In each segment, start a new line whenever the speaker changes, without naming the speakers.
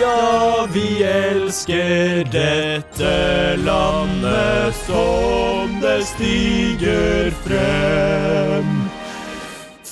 Ja, vi elsker dette landet som det stiger frem.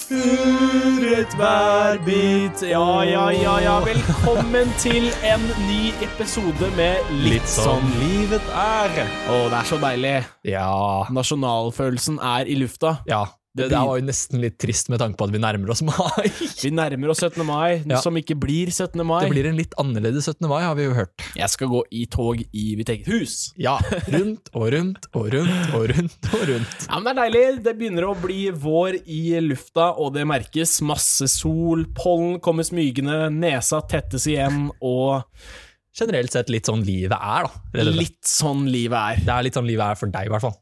Furet hver bit
Ja, ja, ja, ja. Velkommen til en ny episode med Litt sånn.
livet er.
Å, det er så deilig.
Ja.
Nasjonalfølelsen er i lufta.
ja. Det der var jo nesten litt trist med tanke på at vi nærmer oss mai.
Vi nærmer oss 17. mai,
Ja.
som ikke blir 17.
Det
mai.
blir en litt annerledes 17. mai, har vi jo hørt.
Jeg skal gå i tog i mitt eget hus.
Ja. Rundt og rundt og rundt og rundt og rundt.
Ja, men Det er deilig. Det begynner å bli vår i lufta, og det merkes. Masse sol, pollen kommer smygende, nesa tettes igjen, og
Generelt sett litt sånn livet er, da. Rett og slett.
litt sånn livet er.
Det er litt sånn livet er for deg, i hvert fall.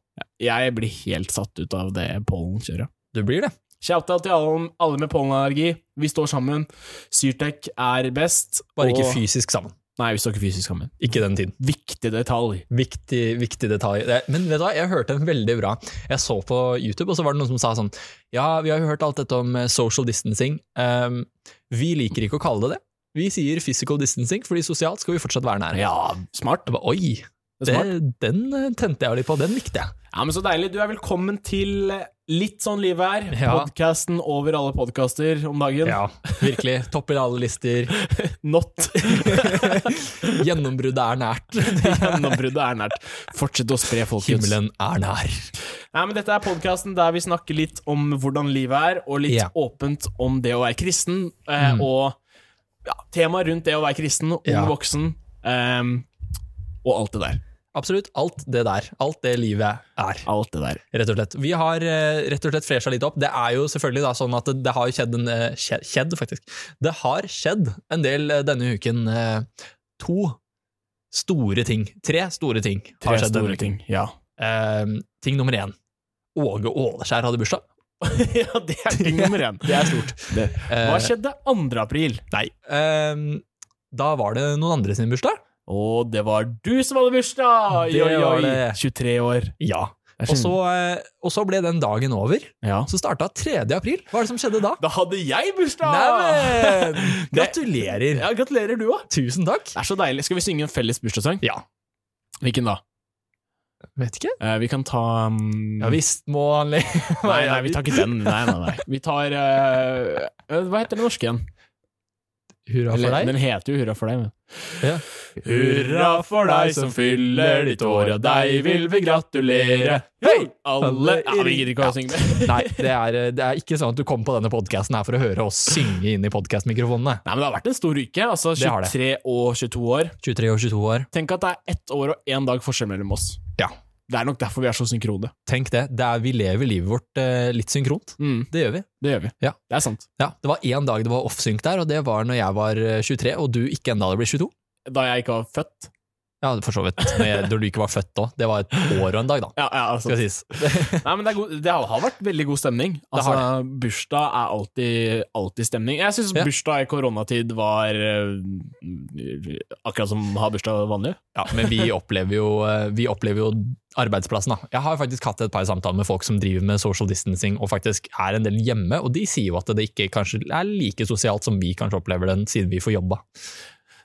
Jeg blir helt satt ut av det pollenkjøret.
Du blir det.
Shout-out til alle, alle med pollenallergi. Vi står sammen. Syrtec er best.
Bare
og-
ikke fysisk sammen.
Nei, vi står ikke fysisk sammen.
Ikke den tiden.
Viktig detalj.
Viktig, viktig detalj. Det- Men vet du hva, jeg hørte en veldig bra Jeg så på YouTube, og så var det noen som sa sånn Ja, vi har jo hørt alt dette om eh, social distancing. Ehm, vi liker ikke å kalle det det. Vi sier physical distancing, fordi sosialt skal vi fortsatt være nære.
Ja, smart.
Jeg ba, Oi!
Det er smart.
Det, den eh, tente jeg litt på, den likte jeg.
Ja, men Så deilig. Du er velkommen til Litt sånn livet er.
Ja.
Podkasten over alle podkaster om dagen.
Ja, virkelig. Topp i alle lister.
Not.
Gjennombruddet er nært.
Gjennombruddet er nært. Fortsett å spre folkens.
Himmelen er nær.
Nei, men Dette er podkasten der vi snakker litt om hvordan livet er, og litt
Ja. Mm.
åpent om det å være kristen, eh, og ja, temaet rundt det å være kristen, ung
Ja.
voksen, ehm, og alt det der.
Absolutt alt det der. Alt det livet er.
Alt det der.
Rett og slett. Vi har eh, rett og slett fresha litt opp. Det er jo selvfølgelig da sånn at det, det har jo skjedd en eh, skje- Skjedd, faktisk. Det har skjedd en del eh, denne uken. eh, To store ting. Tre store ting
Tre
har skjedd denne
store
uken.
ting. Ja.
Eh, ting nummer én. Åge Åleskjær hadde bursdag.
ja, det er ting nummer én.
Det er stort.
Det.
Eh,
Hva skjedde 2. april?
Nei. eh, da var det noen andre sin bursdag.
Og det var du som hadde bursdag! Oi,
Det
oi,
var
oi.
det.
23 år.
Ja.
Jeg
Og så,
skjønner.
eh, og så ble den dagen over.
ja.
Så starta 3. april. Hva er det som skjedde da?
Da hadde jeg bursdag!
Neimen!
Det-
Gratulerer.
Ja, gratulerer, du òg.
Tusen takk.
Det er så deilig. Skal vi synge en felles bursdagssang?
Ja.
Hvilken da?
Vet ikke.
Eh, vi kan ta um,
Ja visst må han le.
Nei, nei, vi tar ikke den. Nei, nei, nei. Vi tar eh, eh, Hva heter den norske igjen?
Hurra for
Eller,
deg.
Den heter jo Hurra for deg. Men.
Ja.
Hurra for deg som fyller ditt år, og deg vil vi gratulere. Hei, alle Ja, vi gidder ikke å synge det.
Nei, det er, det er ikke sånn at du kom på denne podkasten her for å høre oss synge inn i podkastmikrofonene.
Nei, men det har vært en stor uke. Altså
Det har det.
23 og 22 år.
23 og 22 år.
Tenk at det er ett år og én dag forskjell mellom oss.
Ja.
Det er nok derfor vi er så synkrone.
Tenk det. det er, vi lever livet vårt eh, litt synkront.
Mm,
Det gjør vi.
det gjør vi.
Ja.
Det er sant.
Ja, Det var én dag det var offsynk der, og det var når jeg var eh, 23 og du ikke enda hadde blitt 22.
Da jeg ikke var født.
Ja, for så vidt. Når, jeg, når du ikke var født da. Det var et år og en dag, da.
Ja, ja, altså.
Skal sies.
Nei, men det, er god, det har vært veldig god stemning. Altså, Bursdag er alltid, alltid stemning. Jeg syns
Ja.
bursdag i koronatid var eh, akkurat som å ha bursdag vanlig.
Ja, men vi opplever, jo, eh, vi opplever jo arbeidsplassen. da. Jeg har faktisk hatt et par samtaler med folk som driver med social distancing og faktisk er en del hjemme, og de sier jo at det ikke kanskje er like sosialt som vi kanskje opplever den, siden vi får jobba.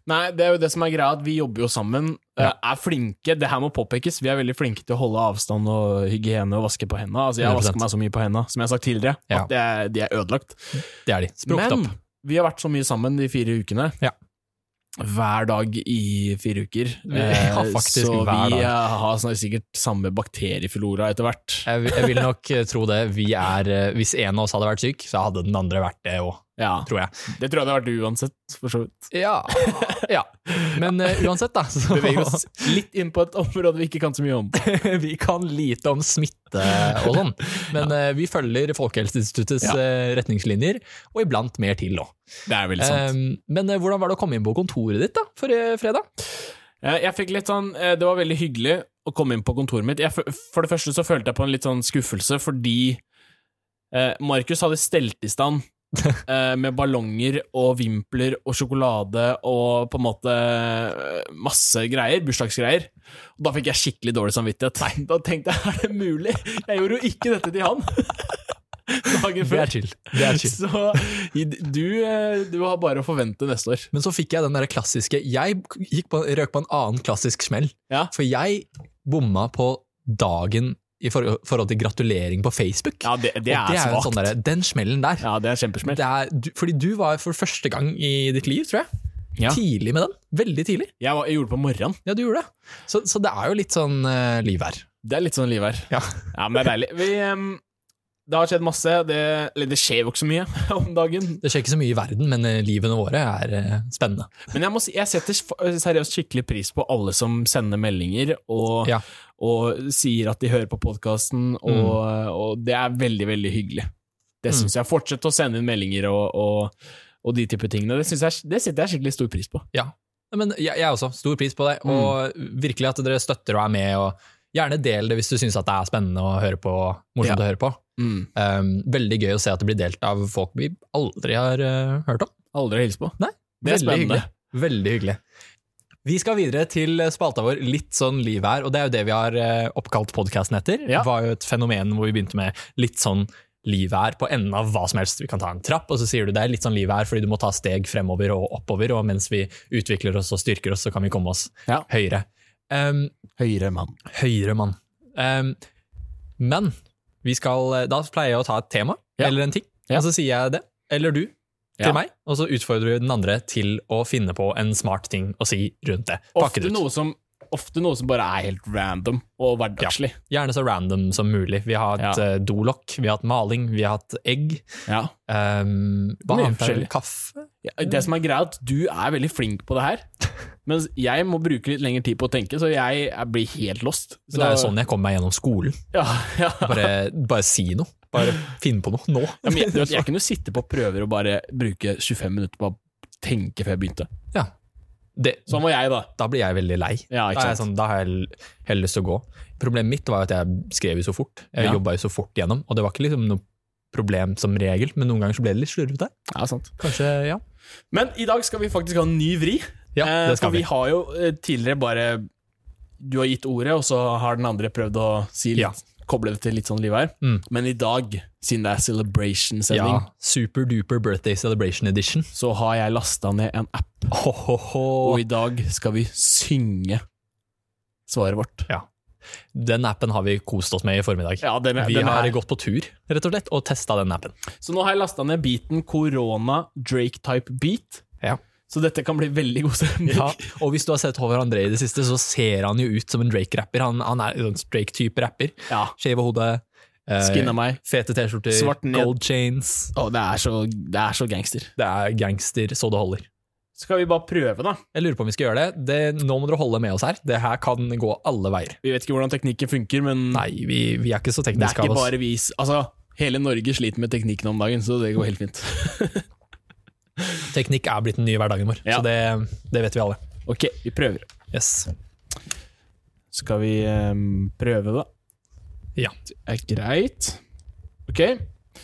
Nei, det er jo det som er greia, at vi jobber jo sammen. eh, Er flinke. Det her må påpekes. Vi er veldig flinke til å holde avstand og hygiene og vaske på henda. Altså, jeg har
100%.
vasket meg så mye på henda, som jeg har sagt tidligere,
Ja.
at det er, de er ødelagt.
Det er de. Språkt
Men
opp.
vi har vært så mye sammen de fire ukene.
Ja.
Hver dag i fire uker.
Ja, faktisk,
så
hver
vi
dag.
eh, har snart sikkert samme bakterieflora etter hvert.
Jeg, vil- jeg vil nok eh, tro det. Vi er, eh, hvis en av oss hadde vært syk, så hadde den andre vært det òg,
Ja,
tror jeg.
Det tror jeg det har vært du uansett, for så vidt.
Ja. ja. Men eh, uansett, da. Så,
Beveger oss litt inn på et område vi ikke kan så mye om.
vi kan lite om smitte og sånn, men eh, vi følger Folkehelseinstituttets
Ja.
eh, retningslinjer, og iblant mer til òg.
Det er veldig sant.
Um, men eh, hvordan var det å komme inn på kontoret ditt da, forrige fredag?
Eh, Jeg fikk litt sånn, eh, Det var veldig hyggelig å komme inn på kontoret mitt. Jeg, fø- for det første så følte jeg på en litt sånn skuffelse fordi eh, Markus hadde stelt i stand eh, med ballonger og vimpler og sjokolade og på en måte eh, masse greier, bursdagsgreier. Og da fikk jeg skikkelig dårlig samvittighet. Nei, da tenkte jeg er det mulig? Jeg gjorde jo ikke dette til han. dagen
Det
før.
er chill. Det er chill.
Så i- du, eh, du har bare å forvente neste år.
Men så fikk jeg den der klassiske Jeg gikk på, røk på en annen klassisk smell.
Ja.
For jeg bomma på dagen i for, forhold til gratulering på Facebook.
Ja, det, det er
Og jo en
svakt.
sånn derre- den smellen der.
ja, det er kjempesmell.
Det er, du, fordi du var for første gang i ditt liv, tror jeg.
Ja.
Tidlig med den. Veldig tidlig.
Jeg, var, jeg gjorde det på morgenen.
Ja, du gjorde det. Så, så det er jo litt sånn eh, liv her.
Det er litt sånn liv her.
Ja.
men det er deilig. Vi, em, det har skjedd masse. Det, eller det skjer jo ikke så mye om dagen.
Det skjer ikke så mye i verden, men eh, livene våre er eh, spennende.
Men jeg, må si, jeg setter f- seriøst skikkelig pris på alle som sender meldinger og,
Ja. Mm.
og sier at de hører på podkasten, og, og det er veldig, veldig hyggelig. Det syns jeg. Fortsett å sende inn meldinger og, og, og de type tingene. Det, synes jeg, det setter jeg skikkelig stor pris på.
Nei, Men jeg, jeg også. Stor pris på det.
Mm.
Og virkelig at dere støtter og er med. og Gjerne del det hvis du syns det er spennende å høre på. og Morsomt
Ja.
å høre på. Um, veldig gøy å se at det blir delt av folk vi aldri har eh, hørt om.
Aldri å hilse på.
Nei,
det er
veldig
spennende.
hyggelig. Veldig hyggelig. Vi skal videre til spalta vår Litt sånn liv her, og det er jo det vi har eh, oppkalt podkasten etter.
Ja.
Det var jo et fenomen hvor vi begynte med litt sånn liv her på enden av hva som helst. Vi kan ta en trapp, og så sier du det er litt sånn liv her fordi du må ta steg fremover og oppover, og mens vi utvikler oss og styrker oss, så kan vi komme oss
Ja.
høyere. Um,
Høyere mann.
høyere mann. Um, men vi skal, eh, da pleier jeg å ta et tema
Ja.
eller en ting,
Ja.
og så sier jeg det, eller du, til
Ja.
meg, og så utfordrer vi den andre til å finne på en smart ting å si rundt det. Pakke
Ofte
det ut.
noe, som, ofte noe som bare er helt random og hverdagslig.
Gjerne så random som mulig. Vi har hatt
Ja.
eh, dolokk, vi har hatt maling, vi har hatt egg.
Ja.
Um, hva
Mye
annet er det?
forskjellig.
Kaffe?
Ja, Det som er greia, er at du er veldig flink på det her. Mens jeg må bruke litt lengre tid på å tenke, så jeg, jeg blir helt lost.
Men Det er jo sånn jeg kommer meg gjennom skolen.
Ja, ja.
Bare, bare si noe. Bare finn på noe nå.
Ja, men jeg, du vet, jeg kunne sitte på prøver og bare bruke 25 minutter på å tenke før jeg begynte.
Det,
Sånn var jeg, da.
da blir jeg veldig lei.
Ja,
Da,
ikke
er jeg
sant?
sånn, da har jeg l- heller lyst til å gå. Problemet mitt var jo at jeg skrev jo så fort. Jeg
Ja.
jobbet jobba jo så fort gjennom, og det var ikke liksom noe problem som regel, men noen ganger så ble det litt slurvete.
Ja, sant.
Kanskje, ja.
Men i dag skal vi faktisk ha en ny vri.
Ja,
Eh,
det skal
for vi
vi.
har jo eh, tidligere bare Du har gitt ordet, og så har den andre prøvd å si litt,
Ja.
koble det til litt sånn liv her.
Mm.
Men i dag, siden det er celebration-sending,
Ja, Super duper birthday celebration edition.
så har jeg lasta ned en app.
Ho, ho, ho.
Og i dag skal vi synge svaret vårt.
Den appen har vi kost oss med i formiddag. vi har gått på tur, rett og slett, og testa den appen.
Så nå har jeg lasta ned beaten Corona Drake Type Beat.
Ja.
Så dette kan bli veldig god stemning.
Ja, og hvis du har sett Håvard André i det siste, så ser han jo ut som en Drake-rapper. Han, han er en sånn Drake-type rapper.
Ja.
Skjeve hode, eh,
Skinna meg.
fete T-skjorter,
Svart ned.
gold chains.
Å, det er, så, det er så gangster.
Det er gangster så det holder.
Skal vi bare prøve, da?
Jeg lurer på om vi skal gjøre det. det nå må dere holde med oss her. Det her kan gå alle veier.
Vi vet ikke hvordan teknikken funker, men
Nei, vi, vi er ikke så
det er
tekniske
ikke
av oss.
bare vi s- Altså, hele Norge sliter med teknikken om dagen, så det går helt fint.
Teknikk er blitt den nye hverdagen vår,
Ja.
så det, det vet vi alle.
Ok, vi prøver.
Yes.
Skal vi ehm, prøve, da?
Ja.
Det er greit. Ok,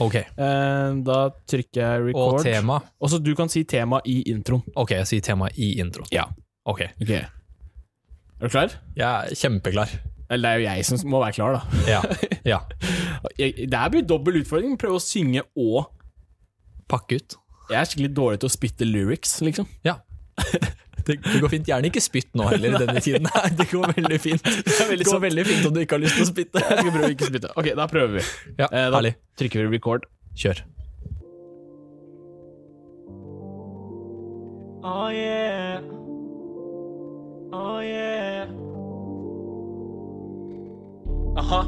Ok.
eh, da trykker jeg
Og
record.
tema.
Og så du kan si tema i introen.
Ok, jeg sier tema i introen.
Ja.
Ok,
Ok. Er du klar?
jeg er kjempeklar.
Eller det er jo jeg som må være klar, da.
Ja. ja.
Jeg, det her blir dobbel utfordring. Prøve å synge og
Pakke ut.
Jeg er skikkelig dårlig til å spytte lyrics, liksom.
Ja. Det, det går fint. Gjerne ikke spytt nå heller i denne tiden. Nei, det går veldig fint. Det
veldig
går
sant.
veldig fint om du ikke har lyst til å spytte.
Jeg skal prøve å ikke spytte. Ok, da prøver vi.
Ja,
Eh, da
herlig.
trykker vi record.
Kjør.
Oh yeah. Oh yeah.
Aha.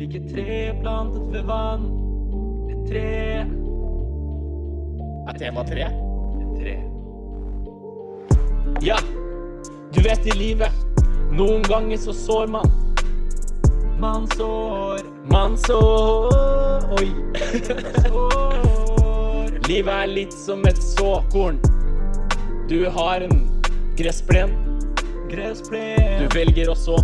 Like et tre plantet ved vann. Et tre.
Er tema tre?
Et tre. Ja, du vet i livet. Noen ganger så sår man. Man sår. Man sår. Oi. sår. Livet er litt som et såkorn. Du har en gressplen. Gressplen. Du velger å så.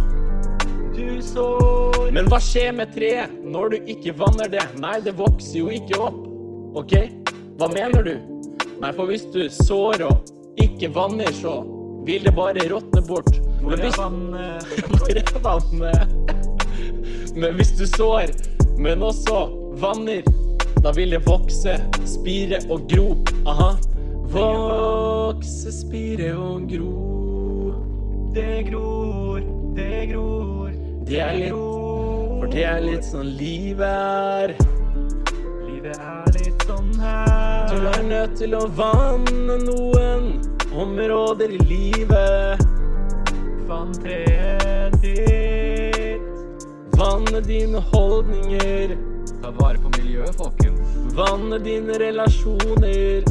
Du sår. Men hva skjer med treet når du ikke vanner det? Nei, det vokser jo ikke opp. OK? Hva mener du? Nei, for hvis du sår og ikke vanner, så vil det bare råtne bort. Men hvis, Hvor er vannet? Men hvis du sår, men også vanner. Da vil det vokse, spire og gro. Aha. Vokse, spire og gro. Det gror, det gror. Det er litt For det er litt sånn livet er. Livet er litt sånn her. Du er nødt til å vanne noen områder i livet. Vann treet ditt. Vanne dine holdninger.
Ta vare på miljøet, folkens.
Vanne dine relasjoner.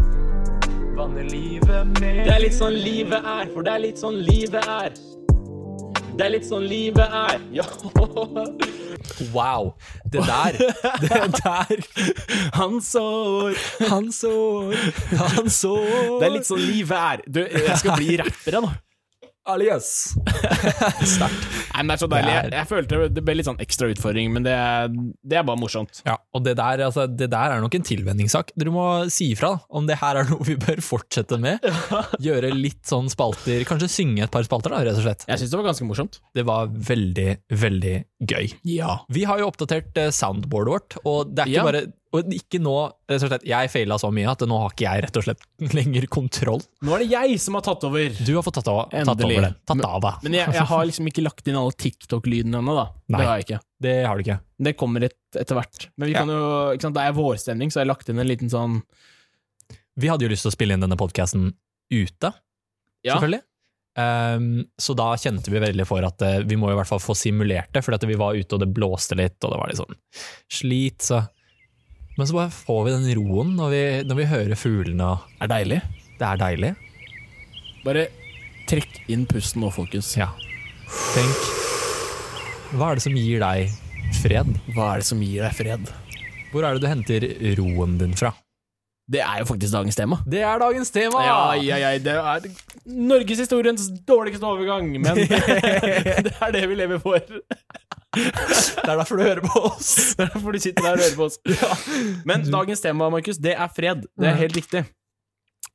Vanne livet med
Det er litt sånn livet er, for det er litt sånn livet er. Det er litt sånn livet er. Ja.
Wow! Det der, det der
Han sår
Han sår, han sår
Det er litt sånn livet er. Du, jeg skal bli rapper, jeg nå.
Alias! Sterkt.
Nei, men det er så deilig. Jeg, jeg følte det ble litt sånn ekstra utfordring, men det er, det er bare morsomt.
Ja, og det der, altså, det der er nok en tilvenningssak. Dere må si ifra da, om det her er noe vi bør fortsette med. Gjøre litt sånn spalter, kanskje synge et par spalter, da, rett og slett.
Jeg syns det var ganske morsomt.
Det var veldig, veldig gøy.
Ja.
Vi har jo oppdatert eh, soundboardet vårt, og det er ikke
Ja.
bare og ikke nå, rett og slett, Jeg faila så mye at nå har ikke jeg rett og slett lenger kontroll.
Nå er det jeg som har tatt over.
Du har fått tatt, av, tatt
Endelig.
over det. Tatt av deg.
Men jeg, jeg har liksom ikke lagt inn alle TikTok-lydene ennå, da.
Nei.
Det har jeg ikke.
Det har du ikke.
Det kommer et, etter hvert. Men vi
Ja.
kan jo, ikke sant, det er vårstemning, så jeg har lagt inn en liten sånn
Vi hadde jo lyst til å spille inn denne podkasten ute,
Ja.
selvfølgelig. Ehm, så da kjente vi veldig for at eh, vi må i hvert fall få simulert det, fordi at vi var ute og det blåste litt, og det var litt sånn slit, så Men så bare får vi den roen når vi, når vi hører fuglene, og
er deilig.
det er deilig.
Bare trekk inn pusten nå, folkens.
Ja. Tenk Hva er det som gir deg fred?
Hva er det som gir deg fred?
Hvor er det du henter roen din fra?
Det er jo faktisk dagens tema.
Det er dagens tema!
Ja, ja, ja, det er norgeshistoriens dårligste overgang, men det er det vi lever for. Det
Det er derfor du hører på oss!
er derfor du sitter der og hører på oss. Men dagens tema, Markus, det er fred. Det er helt riktig.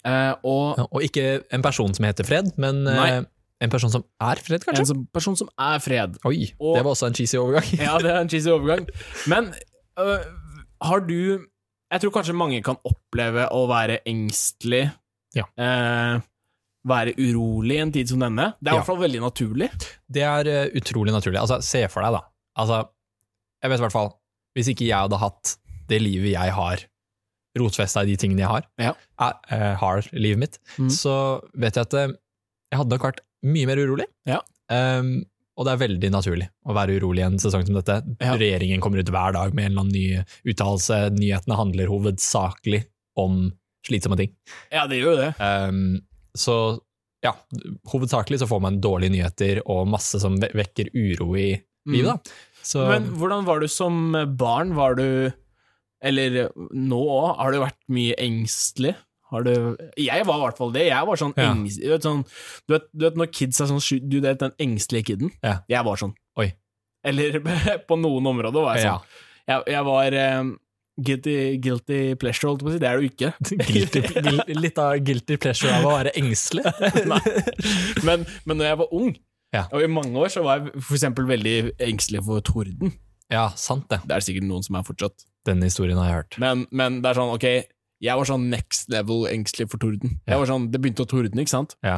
Eh, og
Og ikke en person som heter Fred, men
Nei.
eh, en person som er Fred, kanskje?
en som, person som er fred.
Oi,
Og-
det var også en cheesy overgang.
Ja, det er en cheesy overgang. Men øh, har du Jeg tror kanskje mange kan oppleve å være engstelig.
Ja.
eh, være urolig i en tid som denne. Det er i
Ja.
hvert fall veldig naturlig.
Det er eh, utrolig naturlig. Altså, se for deg, da. Altså, jeg vet i hvert fall Hvis ikke jeg hadde hatt det livet jeg har, rotfesta i de tingene jeg har,
Ja.
er- eh, har livet mitt,
Mm.
så vet jeg at eh, jeg hadde nok vært mye mer urolig.
Ja.
Ehm, og det er veldig naturlig å være urolig i en sesong som dette.
Ja.
Regjeringen kommer ut hver dag med en eller annen ny uttalelse. Nyhetene handler hovedsakelig om slitsomme ting.
Ja, det gjør jo det.
Um, så ja, hovedsakelig så får man dårlige nyheter og masse som ve vekker uro i
Mm.
livet, da. Så
Men hvordan var du som barn? Var du Eller nå òg, har du vært mye engstelig? Har du Jeg var i hvert fall det. Jeg var sånn
Ja.
engstelig du vet, sånn, du, vet, du vet når kids er sånn sky- Du vet den engstelige kiden?
Ja.
Jeg var sånn.
Oi.
Eller på noen områder var jeg
ja,
sånn. Jeg, jeg var eh, guilty, guilty pleasure, holdt jeg på å si. Det er du ikke.
guilty, guil- litt av guilty pleasure av å være engstelig.
Men, men når jeg var ung,
Ja.
og i mange år, så var jeg for eksempel veldig engstelig for torden.
Ja, sant det.
Det er det sikkert noen som er fortsatt.
Denne historien har jeg hørt.
Men, men det er sånn, ok, jeg var sånn next level engstelig for torden.
Ja.
Jeg var sånn, Det begynte å tordne, ikke sant?
Ja.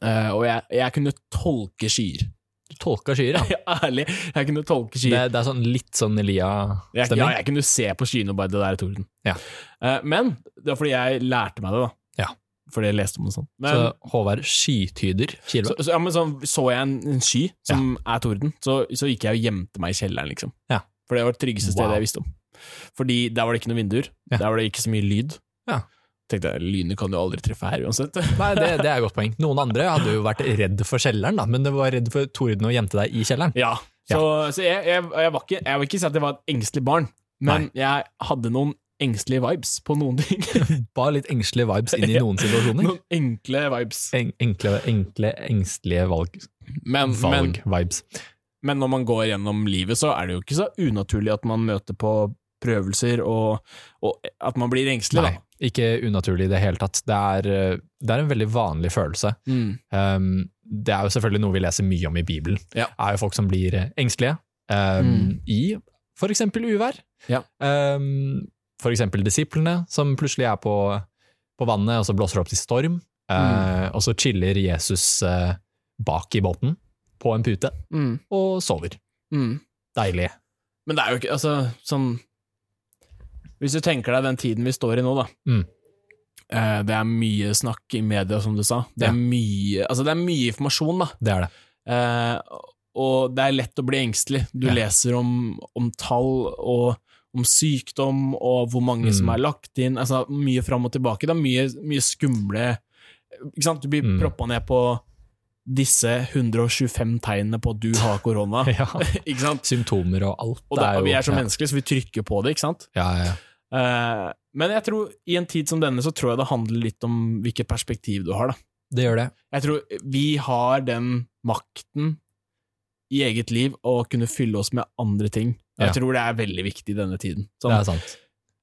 Eh, og jeg, jeg kunne tolke skyer.
Du tolka skyer, ja.
Ærlig, jeg kunne tolke
Det,
skyer.
det er sånn litt sånn
Jeg, ja,
Elia-stemning.
jeg kunne se på skyene og bare det der er torden.
Ja.
Eh, men det var fordi jeg lærte meg det, da.
Ja.
Fordi jeg leste om det sånn. Men,
Så Håvard skytyder
så,
Kilve.
så, ja, men sånn, så jeg en, en sky som er torden, så, så gikk jeg og gjemte meg i kjelleren, liksom.
Ja.
For det var det tryggeste
Wow.
stedet jeg visste om. Fordi der var det ikke noen vinduer,
Ja.
der var det ikke så mye lyd.
Ja.
Tenkte jeg, lynet kan jo aldri treffe her uansett.
Nei, det, det er et godt poeng. Noen andre hadde jo vært redd for kjelleren, da, men du var redd for torden og gjemte deg i kjelleren.
Ja, så, så jeg, jeg, jeg, var ikke, jeg vil ikke si at jeg var et engstelig barn, men jeg hadde noen engstelige vibes på noen ting.
Bare litt engstelige vibes inn i noen situasjoner.
noen enkle vibes.
en, enkle, enkle, engstelige valg, Eh,
Men, men,
valg-vibes.
men når man går gjennom livet, så er det jo ikke så unaturlig at man møter på prøvelser, og, og at man blir engstelig,
Nei,
da.
ikke unaturlig i det hele tatt. Det er, eh, det er en veldig vanlig følelse.
Mm.
Um, det er jo selvfølgelig noe vi leser mye om i Bibelen.
Ja.
Det er jo folk som blir eh, engstelige um, ehm, i for eksempel uvær.
Ja.
Ehm, for eksempel disiplene, som plutselig er på, på vannet, og så blåser det opp til storm. Eh,
Mm.
Og så chiller Jesus eh, bak i båten, på en pute,
Mm.
og sover.
Mm.
Deilig.
Men det er jo ikke Altså, sånn Hvis du tenker deg den tiden vi står i nå, da.
Mm.
Eh, Det er mye snakk i media, som du sa. Det
Ja.
er mye Altså, det er mye informasjon, da.
Det er det.
Eh, og det er lett å bli engstelig. Du
Ja.
leser om, om tall og om sykdom og hvor mange
Mm.
som er lagt inn. Altså, mye fram og tilbake. Det er mye, mye skumle ikke sant? Du blir
Mm.
proppa ned på disse 125 tegnene på at du har korona.
Ja.
ikke sant?
Symptomer og alt.
Ah. Og, da,
jo-
og vi er så
ja.
menneskelige, så vi trykker på det, ikke sant?
Ja, ja, ja.
Eh, men jeg tror, i en tid som denne, så tror jeg det handler litt om hvilket perspektiv du har, da.
Det gjør det.
Jeg tror vi har den makten i eget liv å kunne fylle oss med andre ting. Og Jeg
Ja.
tror det er veldig viktig i denne tiden.
Det
Sånn,
er sant.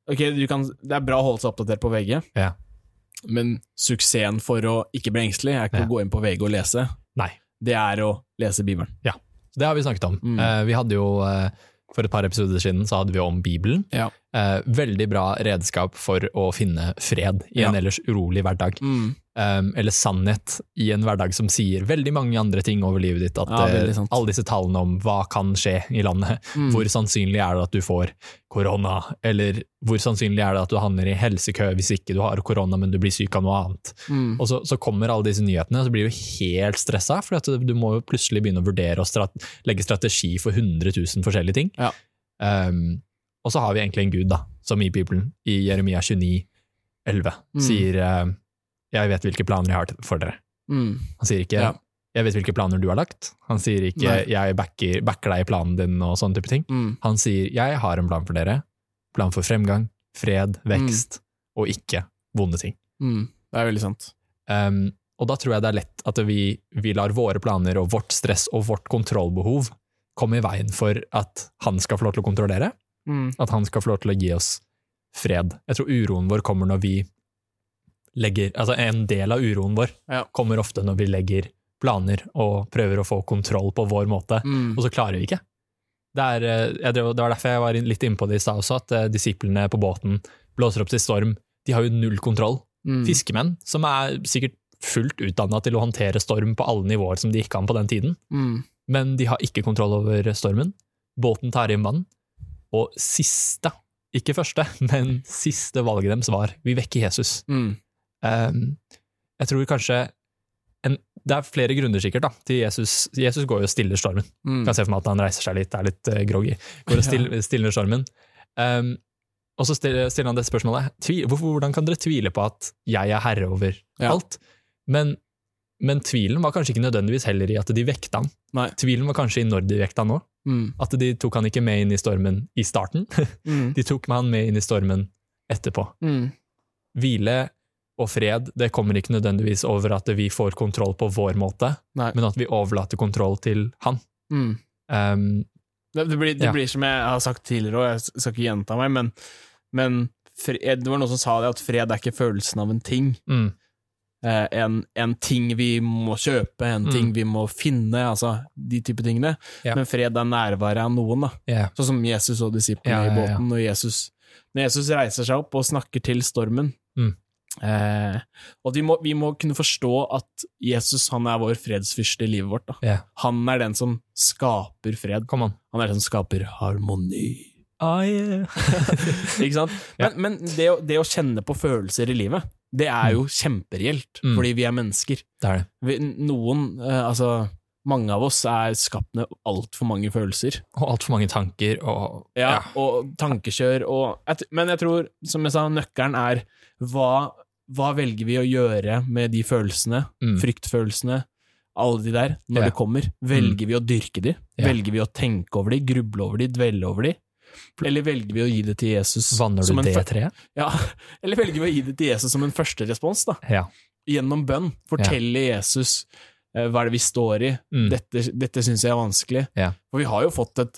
ok, du kan, det er bra å holde seg oppdatert på VG,
Ja.
men suksessen for å ikke bli engstelig er ikke
Ja.
å gå inn på VG og lese.
Nei.
Det er å lese Bibelen.
Så det har vi snakket om.
Mm.
Eh, vi hadde jo eh, For et par episoder siden så hadde vi om Bibelen.
Ja.
Eh, veldig bra redskap for å finne fred i en
Ja.
ellers urolig hverdag. Um, eller sannhet i en hverdag som sier veldig mange andre ting over livet ditt. At
Ja,
eh,
veldig sant.
alle disse tallene om hva kan skje i landet,
Mm.
hvor sannsynlig er det at du får korona, eller hvor sannsynlig er det at du havner i helsekø hvis ikke du har korona, men du blir syk av noe annet.
Mm.
Og så, så kommer alle disse nyhetene, og så blir du helt stressa, for at du må jo plutselig begynne å vurdere og strat legge strategi for 100 000 forskjellige ting.
Ja.
Um, og så har vi egentlig en gud, da, som i Bibelen, i Jeremia 29, 11,
Mm.
sier eh, 'Jeg vet hvilke planer jeg har til- for dere'.
Mm.
Han sier ikke
Ja.
'Jeg vet hvilke planer du har lagt'. Han sier ikke
Nei.
'Jeg backer, backer deg i planen din', og sånne type ting.
Mm.
Han sier 'Jeg har en plan for dere'. Plan for fremgang, fred, vekst, og ikke vonde ting.
Mm. Det er veldig sant.
Um, og da tror jeg det er lett at vi, vi lar våre planer og vårt stress og vårt kontrollbehov komme i veien for at han skal få lov til å kontrollere,
Mm.
at han skal få lov til å gi oss fred. Jeg tror uroen vår kommer når vi legger Altså en del av uroen vår
Ja.
kommer ofte når vi legger planer og prøver å få kontroll på vår måte,
Mm.
og så klarer vi ikke. Det, er, eh, jeg drev, det var derfor jeg var inn- litt inne på det i stad også, at eh, disiplene på båten blåser opp til storm. De har jo null kontroll
Mm.
fiskemenn som er sikkert fullt utdanna til å håndtere storm på alle nivåer som de ikke kan på den tiden,
Mm.
men de har ikke kontroll over stormen. Båten tar inn vann, og siste, ikke første, men siste valget deres var vi vekker Jesus.
Mm.
Ehm, jeg tror kanskje en, Det er flere grunner sikkert da, til Jesus. Jesus går jo og stiller stormen.
Mm.
Kan se for meg at han reiser seg litt, er litt eh, groggy. Går og still, stiller stormen. Um, og så stiller, stiller han dette spørsmålet. Tvi, hvorfor, hvordan kan dere tvile på at jeg er herre over
Ja.
alt? Men, men tvilen var kanskje ikke nødvendigvis heller i at de vekta han.
Nei.
Tvilen var kanskje i når de vekta han òg.
Mm.
At de tok han ikke med inn i stormen i starten.
Mm.
De tok med han med inn i stormen etterpå.
Mm.
Hvile og fred det kommer ikke nødvendigvis over at vi får kontroll på vår måte,
Nei.
men at vi overlater kontroll til han.
Mm.
Um,
Det, det, blir, det
Ja.
blir som jeg har sagt tidligere, og jeg s- skal ikke gjenta meg, men, men fred, det var noen som sa det, at fred er ikke følelsen av en ting.
mm,
Eh, en, en ting vi må kjøpe, en
Mm.
ting vi må finne, altså de type tingene.
Ja.
Men fred er nærværet av noen, da.
yeah.
Sånn som Jesus og disiplene
Ja, ja, ja.
i båten. Når Jesus, når Jesus reiser seg opp og snakker til stormen.
Mm.
Eh, og at vi må, vi må kunne forstå at Jesus han er vår fredsfyrste i livet vårt. Da.
Ja.
Han er den som skaper fred.
Kom an.
Han er den som skaper harmoni.
Ah, yeah.
Ikke sant? Men, men det, å, det å kjenne på følelser i livet, det er jo kjempereelt,
Mm.
fordi vi er mennesker.
Det er det.
Vi, noen, eh, altså mange av oss, er skapt med altfor mange følelser.
Og altfor mange tanker og
Ja, Og tankekjør og jeg t- Men jeg tror, som jeg sa, nøkkelen er hva, hva velger vi å gjøre med de følelsene,
Mm.
fryktfølelsene, alle de der, når
Ja. Mm.
det kommer? Velger vi å dyrke de?
Ja.
Velger vi å tenke over de, gruble over de, dvele over de? Eller velger vi å gi det til Jesus
Vanner du
som en
det
fe-
treet?
Ja, eller velger vi å gi det til Jesus som en første respons, da.
Ja.
Gjennom bønn. Fortelle Jesus eh, hva er det vi står i.
Mm.
Dette, dette syns jeg er vanskelig.
Ja.
For vi har jo fått et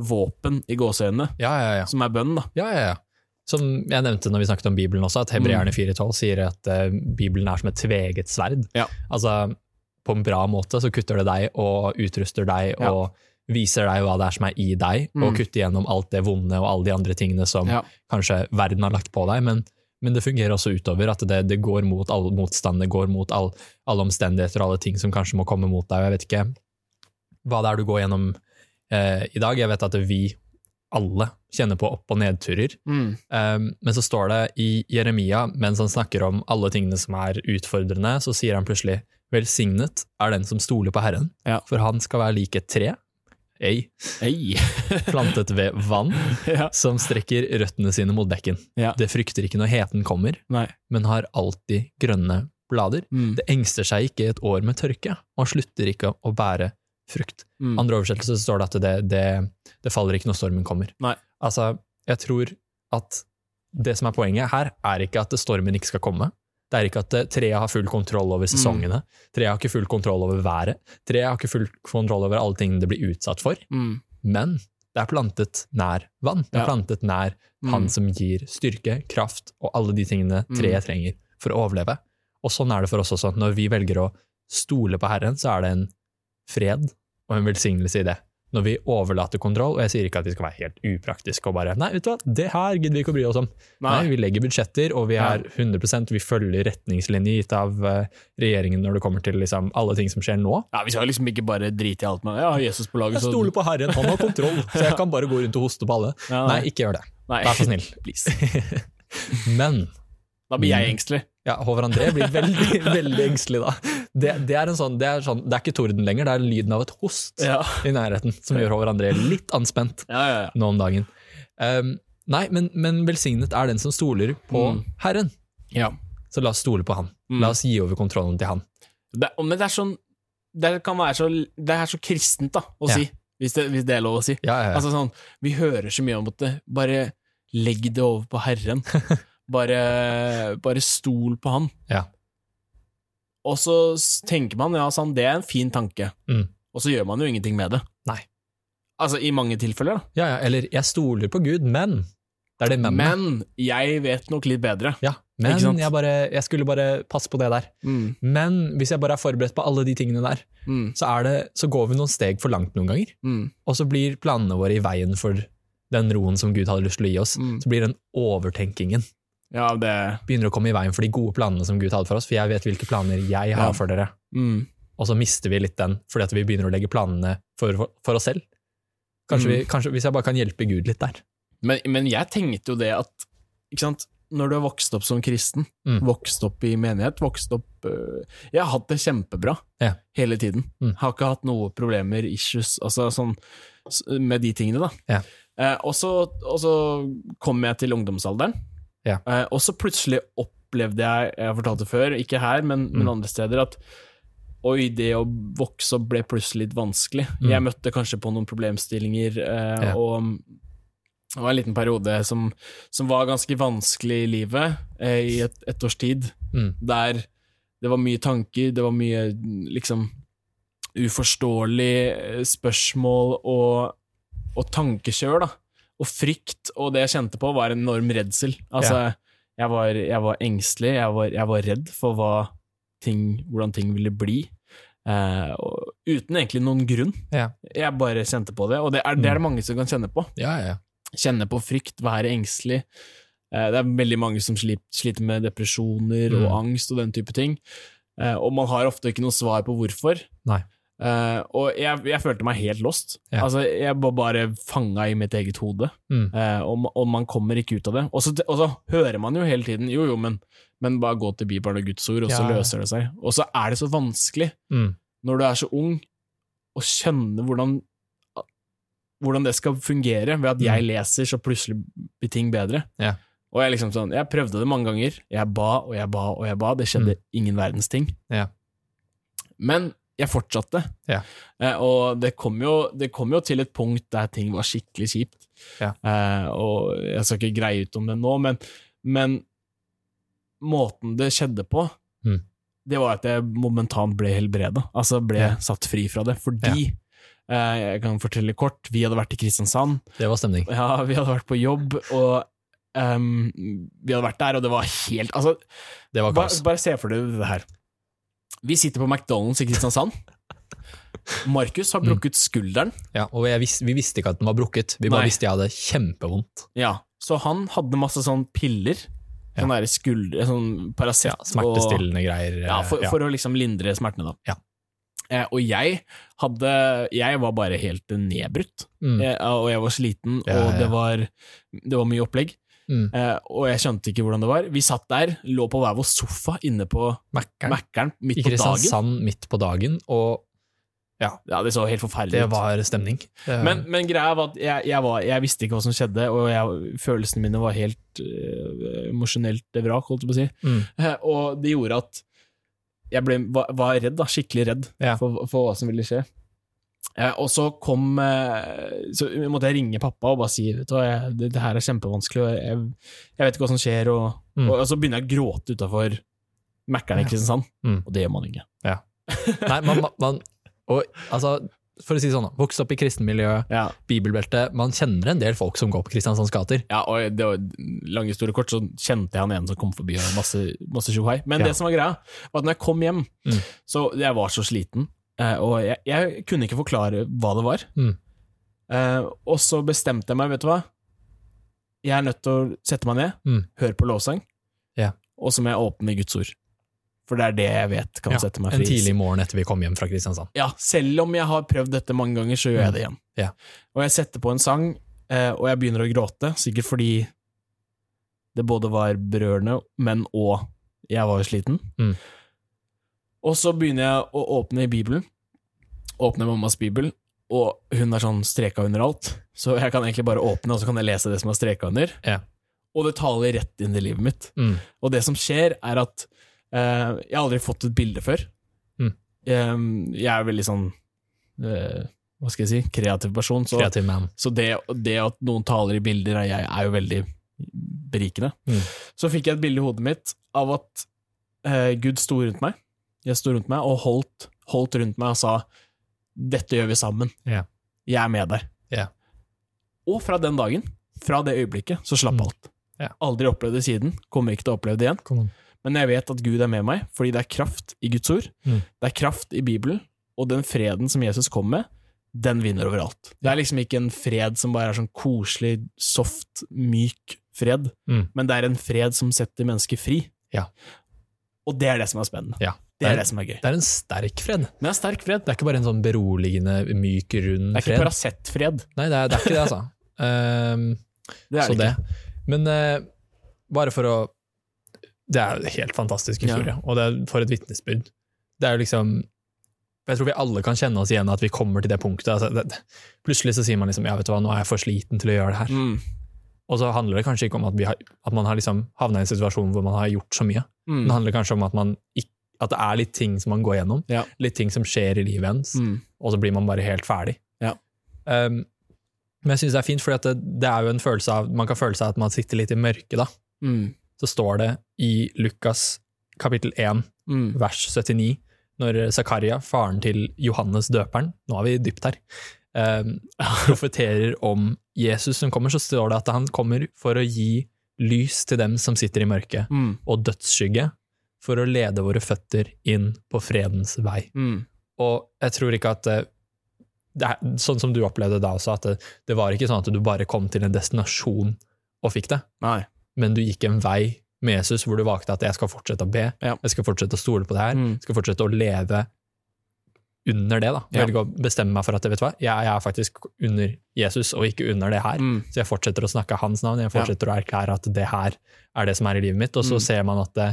våpen i gåseøynene,
Ja, ja, ja.
som er bønn, da.
ja, ja, ja. Som jeg nevnte når vi snakket om Bibelen også, at
Mm.
hebreerne 4.12 sier at eh, Bibelen er som et tveget sverd.
Ja.
Altså, på en bra måte så kutter det deg og utruster deg
Ja.
og viser deg hva det er som er i deg, og
Mm.
kutter gjennom alt det vonde og alle de andre tingene som
Ja.
kanskje verden har lagt på deg, men, men det fungerer også utover. At det, det går mot all motstand, det går mot all, alle omstendigheter og alle ting som kanskje må komme mot deg. og Jeg vet ikke hva det er du går gjennom eh, i dag. Jeg vet at vi alle kjenner på opp- og nedturer.
Mm.
Um, men så står det i Jeremia, mens han snakker om alle tingene som er utfordrende, så sier han plutselig Velsignet er den som stoler på Herren,
Ja.
for han skal være lik et tre, ei,
Ei.
plantet ved vann,
ja.
som strekker røttene sine mot bekken.
Ja.
Det frykter ikke når heten kommer,
Nei.
men har alltid grønne blader.
Mm.
Det engster seg ikke i et år med tørke, og slutter ikke å bære frukt.
Mm.
Andre oversettelser så står det at det, det, det faller ikke når stormen kommer.
Nei.
Altså, jeg tror at det som er poenget her, er ikke at stormen ikke skal komme. Det er ikke at eh, treet har full kontroll
Mm.
over sesongene, treet har ikke full kontroll over været, treet har ikke full kontroll over alle tingene det blir utsatt for,
Mm.
men det er plantet nær vann. Det er
Ja.
plantet nær
Mm.
han som gir styrke, kraft og alle de tingene treet trenger for å overleve. Og sånn er det for oss også. Når vi velger å stole på Herren, så er det en fred og en velsignelse i det. Når vi overlater kontroll, og jeg sier ikke at vi skal være helt upraktiske og bare Nei, vet du hva, det her gidder vi ikke å bry oss om. Nei,
Nei.
vi legger budsjetter, og vi er 100 vi følger retningslinjer gitt av eh, regjeringen når det kommer til liksom, alle ting som skjer nå.
Ja, vi skal liksom ikke bare drite i alt, men ja, Jesus på laget, så
Jeg stoler på Herren, han har kontroll, så jeg kan bare gå rundt og hoste på alle.
Ja,
Nei, ikke gjør det.
Nei.
Vær så snill.
Please.
Men
Da blir
Mm.
jeg engstelig.
Ja, Håvard André blir veldig, veldig engstelig da. Det, det, er en sånn, det, er sånn, det er ikke torden lenger, det er lyden av et host
Ja.
i nærheten som gjør Håvard André litt anspent
Ja, ja, ja.
nå om dagen. Um, nei, men, men velsignet er den som stoler på
Mm.
Herren.
ja.
Så la oss stole på han.
Mm.
La oss gi over kontrollen til han.
Det, men det er sånn Det kan være så Det er så kristent, da, å
Ja.
si. Hvis det, hvis det er lov å si.
Ja, ja, ja.
Altså sånn Vi hører så mye om det. Bare legg det over på Herren. Bare, bare stol på Han.
Ja.
Og så s- tenker man ja, sånn, det er en fin tanke,
Mm.
og så gjør man jo ingenting med det.
Nei.
Altså, i mange tilfeller, da.
ja, ja, eller jeg stoler på Gud, men Det er det men.
Men jeg vet nok litt bedre.
ja,
Ikke sant?
men jeg, bare, jeg skulle bare passe på det der.
Mm.
Men hvis jeg bare er forberedt på alle de tingene der,
Mm.
så, er det, så går vi noen steg for langt noen ganger.
Mm.
og så blir planene våre i veien for den roen som Gud hadde lyst til å gi oss.
Mm.
Så blir den overtenkingen
Ja, det
begynner å komme i veien for de gode planene som Gud hadde for oss, for jeg vet hvilke planer jeg har
Ja.
for dere.
mm.
Og så mister vi litt den, fordi at vi begynner å legge planene for, for oss selv. Kanskje,
Mm.
vi, kanskje Hvis jeg bare kan hjelpe Gud litt der.
Men, men jeg tenkte jo det at ikke sant? Når du har vokst opp som kristen,
Mm.
vokst opp i menighet vokst opp, øh, Jeg har hatt det kjempebra
Ja.
hele tiden.
Mm.
Har ikke hatt noe problemer, issues, altså sånn s- med de tingene, da.
Ja.
Eh, og, så, og så kom jeg til ungdomsalderen,
Ja.
eh, og så plutselig opplevde jeg Jeg har fortalt det før, ikke her, men,
Mm.
men andre steder, at Oi, det å vokse opp ble plutselig litt vanskelig.
Mm.
Jeg møtte kanskje på noen problemstillinger, eh,
Ja.
og det var en liten periode som, som var ganske vanskelig i livet, eh, i et, et års tid,
Mm.
der det var mye tanker, det var mye liksom uforståelige eh, spørsmål og, og tankekjør, da. Og frykt, og det jeg kjente på, var en enorm redsel. Altså, jeg, var, jeg var engstelig, jeg var, jeg var redd for hva ting, hvordan ting ville bli. Eh, og, uten egentlig noen grunn.
Ja.
Jeg bare kjente på det, og det er det, er det mange som kan kjenne på
Ja, ja, ja.
kjenne på frykt, være engstelig. Eh, Det er veldig mange som slip- sliter med depresjoner og
Mm.
angst og den type ting. Eh, Og man har ofte ikke noe svar på hvorfor.
Nei.
Eh, og jeg, jeg følte meg helt lost.
Ja.
Altså, jeg var bare fanga i mitt eget hode,
Mm.
Eh, og, ma- og man kommer ikke ut av det. Og så, og så hører man jo hele tiden Jo, jo, men, men bare gå til Bibelen og Guds ord, og så
Ja.
løser det seg. Og så er det så vanskelig,
Mm.
når du er så ung, å kjenne hvordan, hvordan det skal fungere, ved at jeg leser, så plutselig blir ting bedre.
Mm. Ja.
Og jeg liksom sånn, jeg prøvde det mange ganger. Jeg ba og jeg ba og jeg ba. Det skjedde ingen verdens ting.
Mm. Ja.
Men jeg fortsatte.
Ja.
Eh, og det kom, jo, det kom jo til et punkt der ting var skikkelig kjipt.
Ja.
Eh, og jeg skal ikke greie ut om det nå, men, men måten det skjedde på,
Mm.
det var at jeg momentant ble helbreda. Altså ble
Ja.
satt fri fra det. Fordi, eh, jeg kan fortelle kort, vi hadde vært i Kristiansand.
Det var stemning.
Ja, vi hadde vært på jobb, og ehm, vi hadde vært der, og det var helt Altså,
Det var
bare,
kaos.
bare se for deg det her. Vi sitter på McDonald's i Kristiansand, Markus har
Mm.
brukket skulderen.
Ja, og jeg vis, vi visste ikke at den var brukket, vi bare
Nei.
visste jeg hadde kjempevondt.
Ja, så han hadde masse sånn piller.
Ja.
Sånn der skuldre, sånn Paracet og
Smertestillende greier. eh,
ja, for, for å liksom lindre smertene, da.
Ja.
Eh, og jeg hadde Jeg var bare helt nedbrutt,
Mm,
jeg, og jeg var sliten,
Ja,
og
ja.
det var, det var mye opplegg.
mm.
Eh, og jeg skjønte ikke hvordan det var. Vi satt der, lå på hver vår sofa inne på
Mækkern.
Mækkern midt
I
på dagen.
Kristiansand midt på dagen, og
Ja, det så helt forferdelig
det
ut.
var stemning. Det-
Men, men greia var at jeg, jeg, var, jeg visste ikke hva som skjedde, og jeg, følelsene mine var helt øh, emosjonelt vrak, holdt jeg på å si.
mm.
Eh, Og det gjorde at jeg ble, var, var redd, da, skikkelig redd
Ja.
for, for hva som ville skje. Eh, og så kom eh, Så måtte jeg ringe pappa og bare si vet du, hva, jeg, det, det her er kjempevanskelig, og jeg, jeg vet ikke hva som skjer. Og,
Mm.
og, og så begynner jeg å gråte utafor Mækkern i
Ja.
Kristiansand,
Mm.
og det gjør man ikke.
Nei, man, man- man og, altså, For å si det sånn, da, vokst opp i kristenmiljø,
Ja.
bibelbelte Man kjenner en del folk som går på Kristiansands gater.
Ja, og det var lange store kort, så kjente jeg han ene som kom forbi og masse, masse tjohei. Men
Ja.
det som var greia, var at når jeg kom hjem,
Mm.
så jeg var så sliten, eh, og jeg, jeg kunne ikke forklare hva det var.
Mm.
Eh, og så bestemte jeg meg, vet du hva? Jeg er nødt til å sette meg ned,
Mm.
høre på lovsang,
Ja.
og så må jeg åpne Guds ord. For det er det jeg vet kan
Ja,
sette meg
En
fri.
tidlig morgen etter vi kom hjem fra Kristiansand.
Ja, selv om jeg har prøvd dette mange ganger, så gjør jeg det igjen.
Mm. Ja.
Og jeg setter på en sang, eh, og jeg begynner å gråte, sikkert fordi det både var berørende, men og jeg var jo sliten.
Mm.
Og så begynner jeg å åpne i Bibelen, åpner mammas bibel, og hun er sånn streka under alt, så jeg kan egentlig bare åpne, og så kan jeg lese det som er streka under.
Ja.
Og det taler rett inn i livet mitt.
Mm.
Og det som skjer, er at eh, jeg har aldri fått et bilde før.
Mm.
Eh, jeg er veldig sånn eh, Hva skal jeg si? Kreativ person. Så,
Kreativ man.
så det, det at noen taler i bilder av jeg, er jo veldig berikende.
Mm.
Så fikk jeg et bilde i hodet mitt av at eh, Gud sto rundt meg. Jeg sto rundt meg og holdt, holdt rundt meg og sa 'Dette gjør vi sammen.
Ja.
Jeg er med deg'.
Ja.
Og fra den dagen, fra det øyeblikket, så slapp
Mm.
alt.
Ja.
Aldri opplevd det siden. Kommer ikke til å oppleve det igjen.
Kom an.
Men jeg vet at Gud er med meg, fordi det er kraft i Guds ord.
Mm.
Det er kraft i Bibelen, og den freden som Jesus kom med, den vinner overalt. Det er liksom ikke en fred som bare er sånn koselig, soft, myk fred,
Mm.
men det er en fred som setter mennesker fri.
Ja.
Og det er det som er spennende.
Ja.
Det er det som er gøy.
Det er en sterk fred.
Men det er sterk fred.
Det er ikke bare en sånn beroligende, myk, rund
Det er ikke
fred.
Paracet-fred.
Nei, det er, det er ikke det, altså. Ehm,
Det er
så
det
det.
ikke.
Men eh, bare for å Det er jo en helt fantastisk historie, og det er for et vitnesbyrd. Det er jo liksom Jeg tror vi alle kan kjenne oss igjen at vi kommer til det punktet. Altså, det, plutselig så sier man liksom ja, vet du hva, nå er jeg for sliten til å gjøre det her.
Mm.
Og så handler det kanskje ikke om at, vi har, at man har liksom havna i en situasjon hvor man har gjort så mye.
Mm.
Det handler kanskje om at, man, ikk- at det er litt ting som man går gjennom,
Ja.
litt ting som skjer i livet ens,
Mm.
og så blir man bare helt ferdig.
Ja.
Um, men jeg syns det er fint, for det, det er jo en følelse av Man kan føle seg at man sitter litt i mørket, da.
Mm.
Så står det i Lukas kapittel 1,
Mm.
vers 79, når Zakaria, faren til Johannes døperen Nå er vi dypt her. Um, profeterer om Jesus som kommer, så står det at han kommer for å gi lys til dem som sitter i mørket
Mm.
og dødsskygge for å lede våre føtter inn på fredens vei.
Mm.
Og jeg tror ikke at eh, det er, Sånn som du opplevde da også, at det, det var ikke sånn at du bare kom til en destinasjon og fikk det,
Nei.
men du gikk en vei med Jesus hvor du valgte at jeg skal fortsette å be,
Ja.
jeg skal fortsette å stole på det her,
Mm.
jeg skal fortsette å leve under det. da.
Ja.
Velge å bestemme meg for at vet du hva, jeg, jeg er faktisk under Jesus og ikke under det her.
Mm.
Så jeg fortsetter å snakke hans navn, jeg fortsetter å erklære at det her er det som er i livet mitt, og så
Mm.
ser man at det,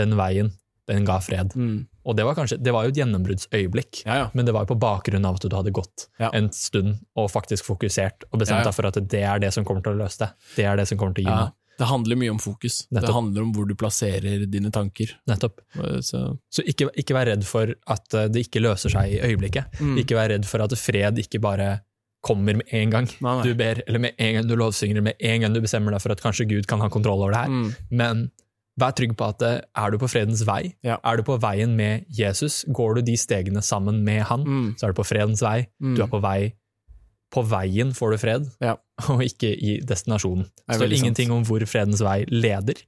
den veien, den ga fred.
Mm.
Og det var kanskje, det var jo et gjennombruddsøyeblikk,
Ja, ja.
men det var jo på bakgrunn av at du hadde gått
Ja.
en stund og faktisk fokusert, og bestemt
Ja, ja.
deg for at det er det som kommer til å løse det. Det er det som kommer til å gi
Ja,
meg.
det handler mye om fokus.
Nettopp.
Det handler om hvor du plasserer dine tanker.
Nettopp.
Eh, Så,
Så ikke, ikke vær redd for at eh, det ikke løser seg i øyeblikket.
mm.
Ikke vær redd for at fred ikke bare kommer med en gang.
Nei, nei.
Du ber, eller med en gang du lovsynger, med en gang du bestemmer deg for at kanskje Gud kan ha kontroll over det her.
Mm.
Men vær trygg på at eh, er du på fredens vei,
Ja.
er du på veien med Jesus, går du de stegene sammen med han,
Mm.
så er du på fredens vei.
Mm.
Du er på vei På veien får du fred,
Ja.
og ikke i destinasjonen.
er
Det står
veldig sant.
ingenting om hvor fredens vei leder.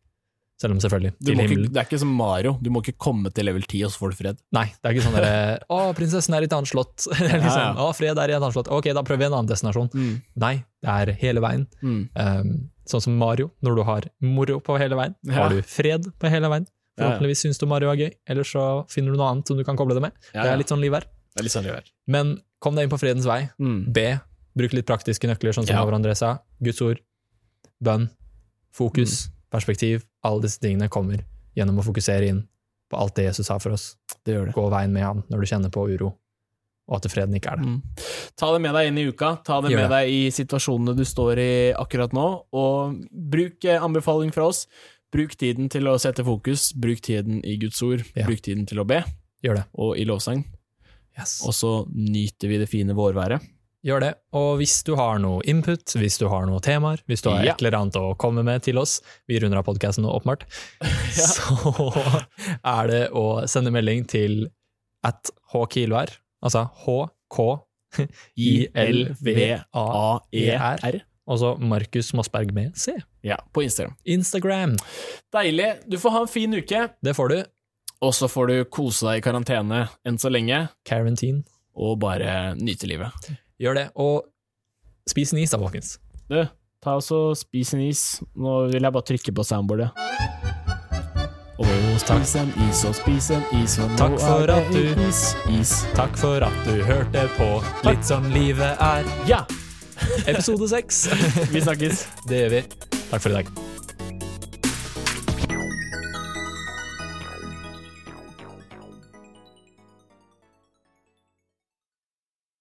Selv om selvfølgelig
Du
til
må ikke,
himmelen.
det er ikke som Mario. Du må ikke komme til level 10, og så får du fred.
Nei, det er ikke sånn derre 'Å, prinsessen er i et annet slott'.
Ja,
Eller liksom,
ja.
'Å, fred er i et annet slott'. Ok, da prøver vi en annen destinasjon. Nei, det er hele veien.
Mm.
Um, sånn som Mario, når du har moro på hele veien,
Ja.
har du fred på hele veien.
Ja, ja.
Forhåpentligvis syns du Mario er gøy, eller så finner du noe annet som du kan koble det med.
Ja,
Det
ja.
er litt sånn livet er.
Det er litt sånn det er.
Men kom deg inn på fredens vei.
Mm.
B. Bruk litt praktiske nøkler, sånn som
Ja.
Over André sa. Guds ord, bønn,
Mm.
fokus, perspektiv. Alle disse tingene kommer gjennom å fokusere inn på alt det Jesus har for oss.
Det gjør det.
Gå veien med han når du kjenner på uro, og at freden ikke er der.
Mm. Ta det med deg inn i uka, ta det
Gjør
med
det.
deg i situasjonene du står i akkurat nå, og bruk eh, anbefaling fra oss. Bruk tiden til å sette fokus, bruk tiden i Guds ord,
Ja.
bruk tiden til å be,
Gjør det.
og i lovsang.
Yes.
Og så nyter vi det fine vårværet.
Gjør det. Og hvis du har noe input, hvis du har noen temaer, hvis du har
Ja.
et eller annet å komme med til oss, vi runder av podkasten nå, åpenbart, så er det å sende melding til at hkilvær, altså h-k-i-l-v-a-e-r,
I-L-V-A-E-R.
og så Markus Mossberg med c.
Ja, på Instagram.
Instagram.
Deilig. Du får ha en fin uke,
Det får du.
og så får du kose deg i karantene enn så lenge,
Quarantine.
og bare nyte livet.
Gjør det. Og spis en is da, folkens.
Du, ta og så spis en is. Nå vil jeg bare trykke på soundboardet. Og spis en is, og spis en is, og nå
Takk for
er det
at du-
is, is.
Takk for at du hørte på Litt sånn livet er,
Ja,
episode seks.
vi snakkes.
Det gjør vi. Takk for i dag.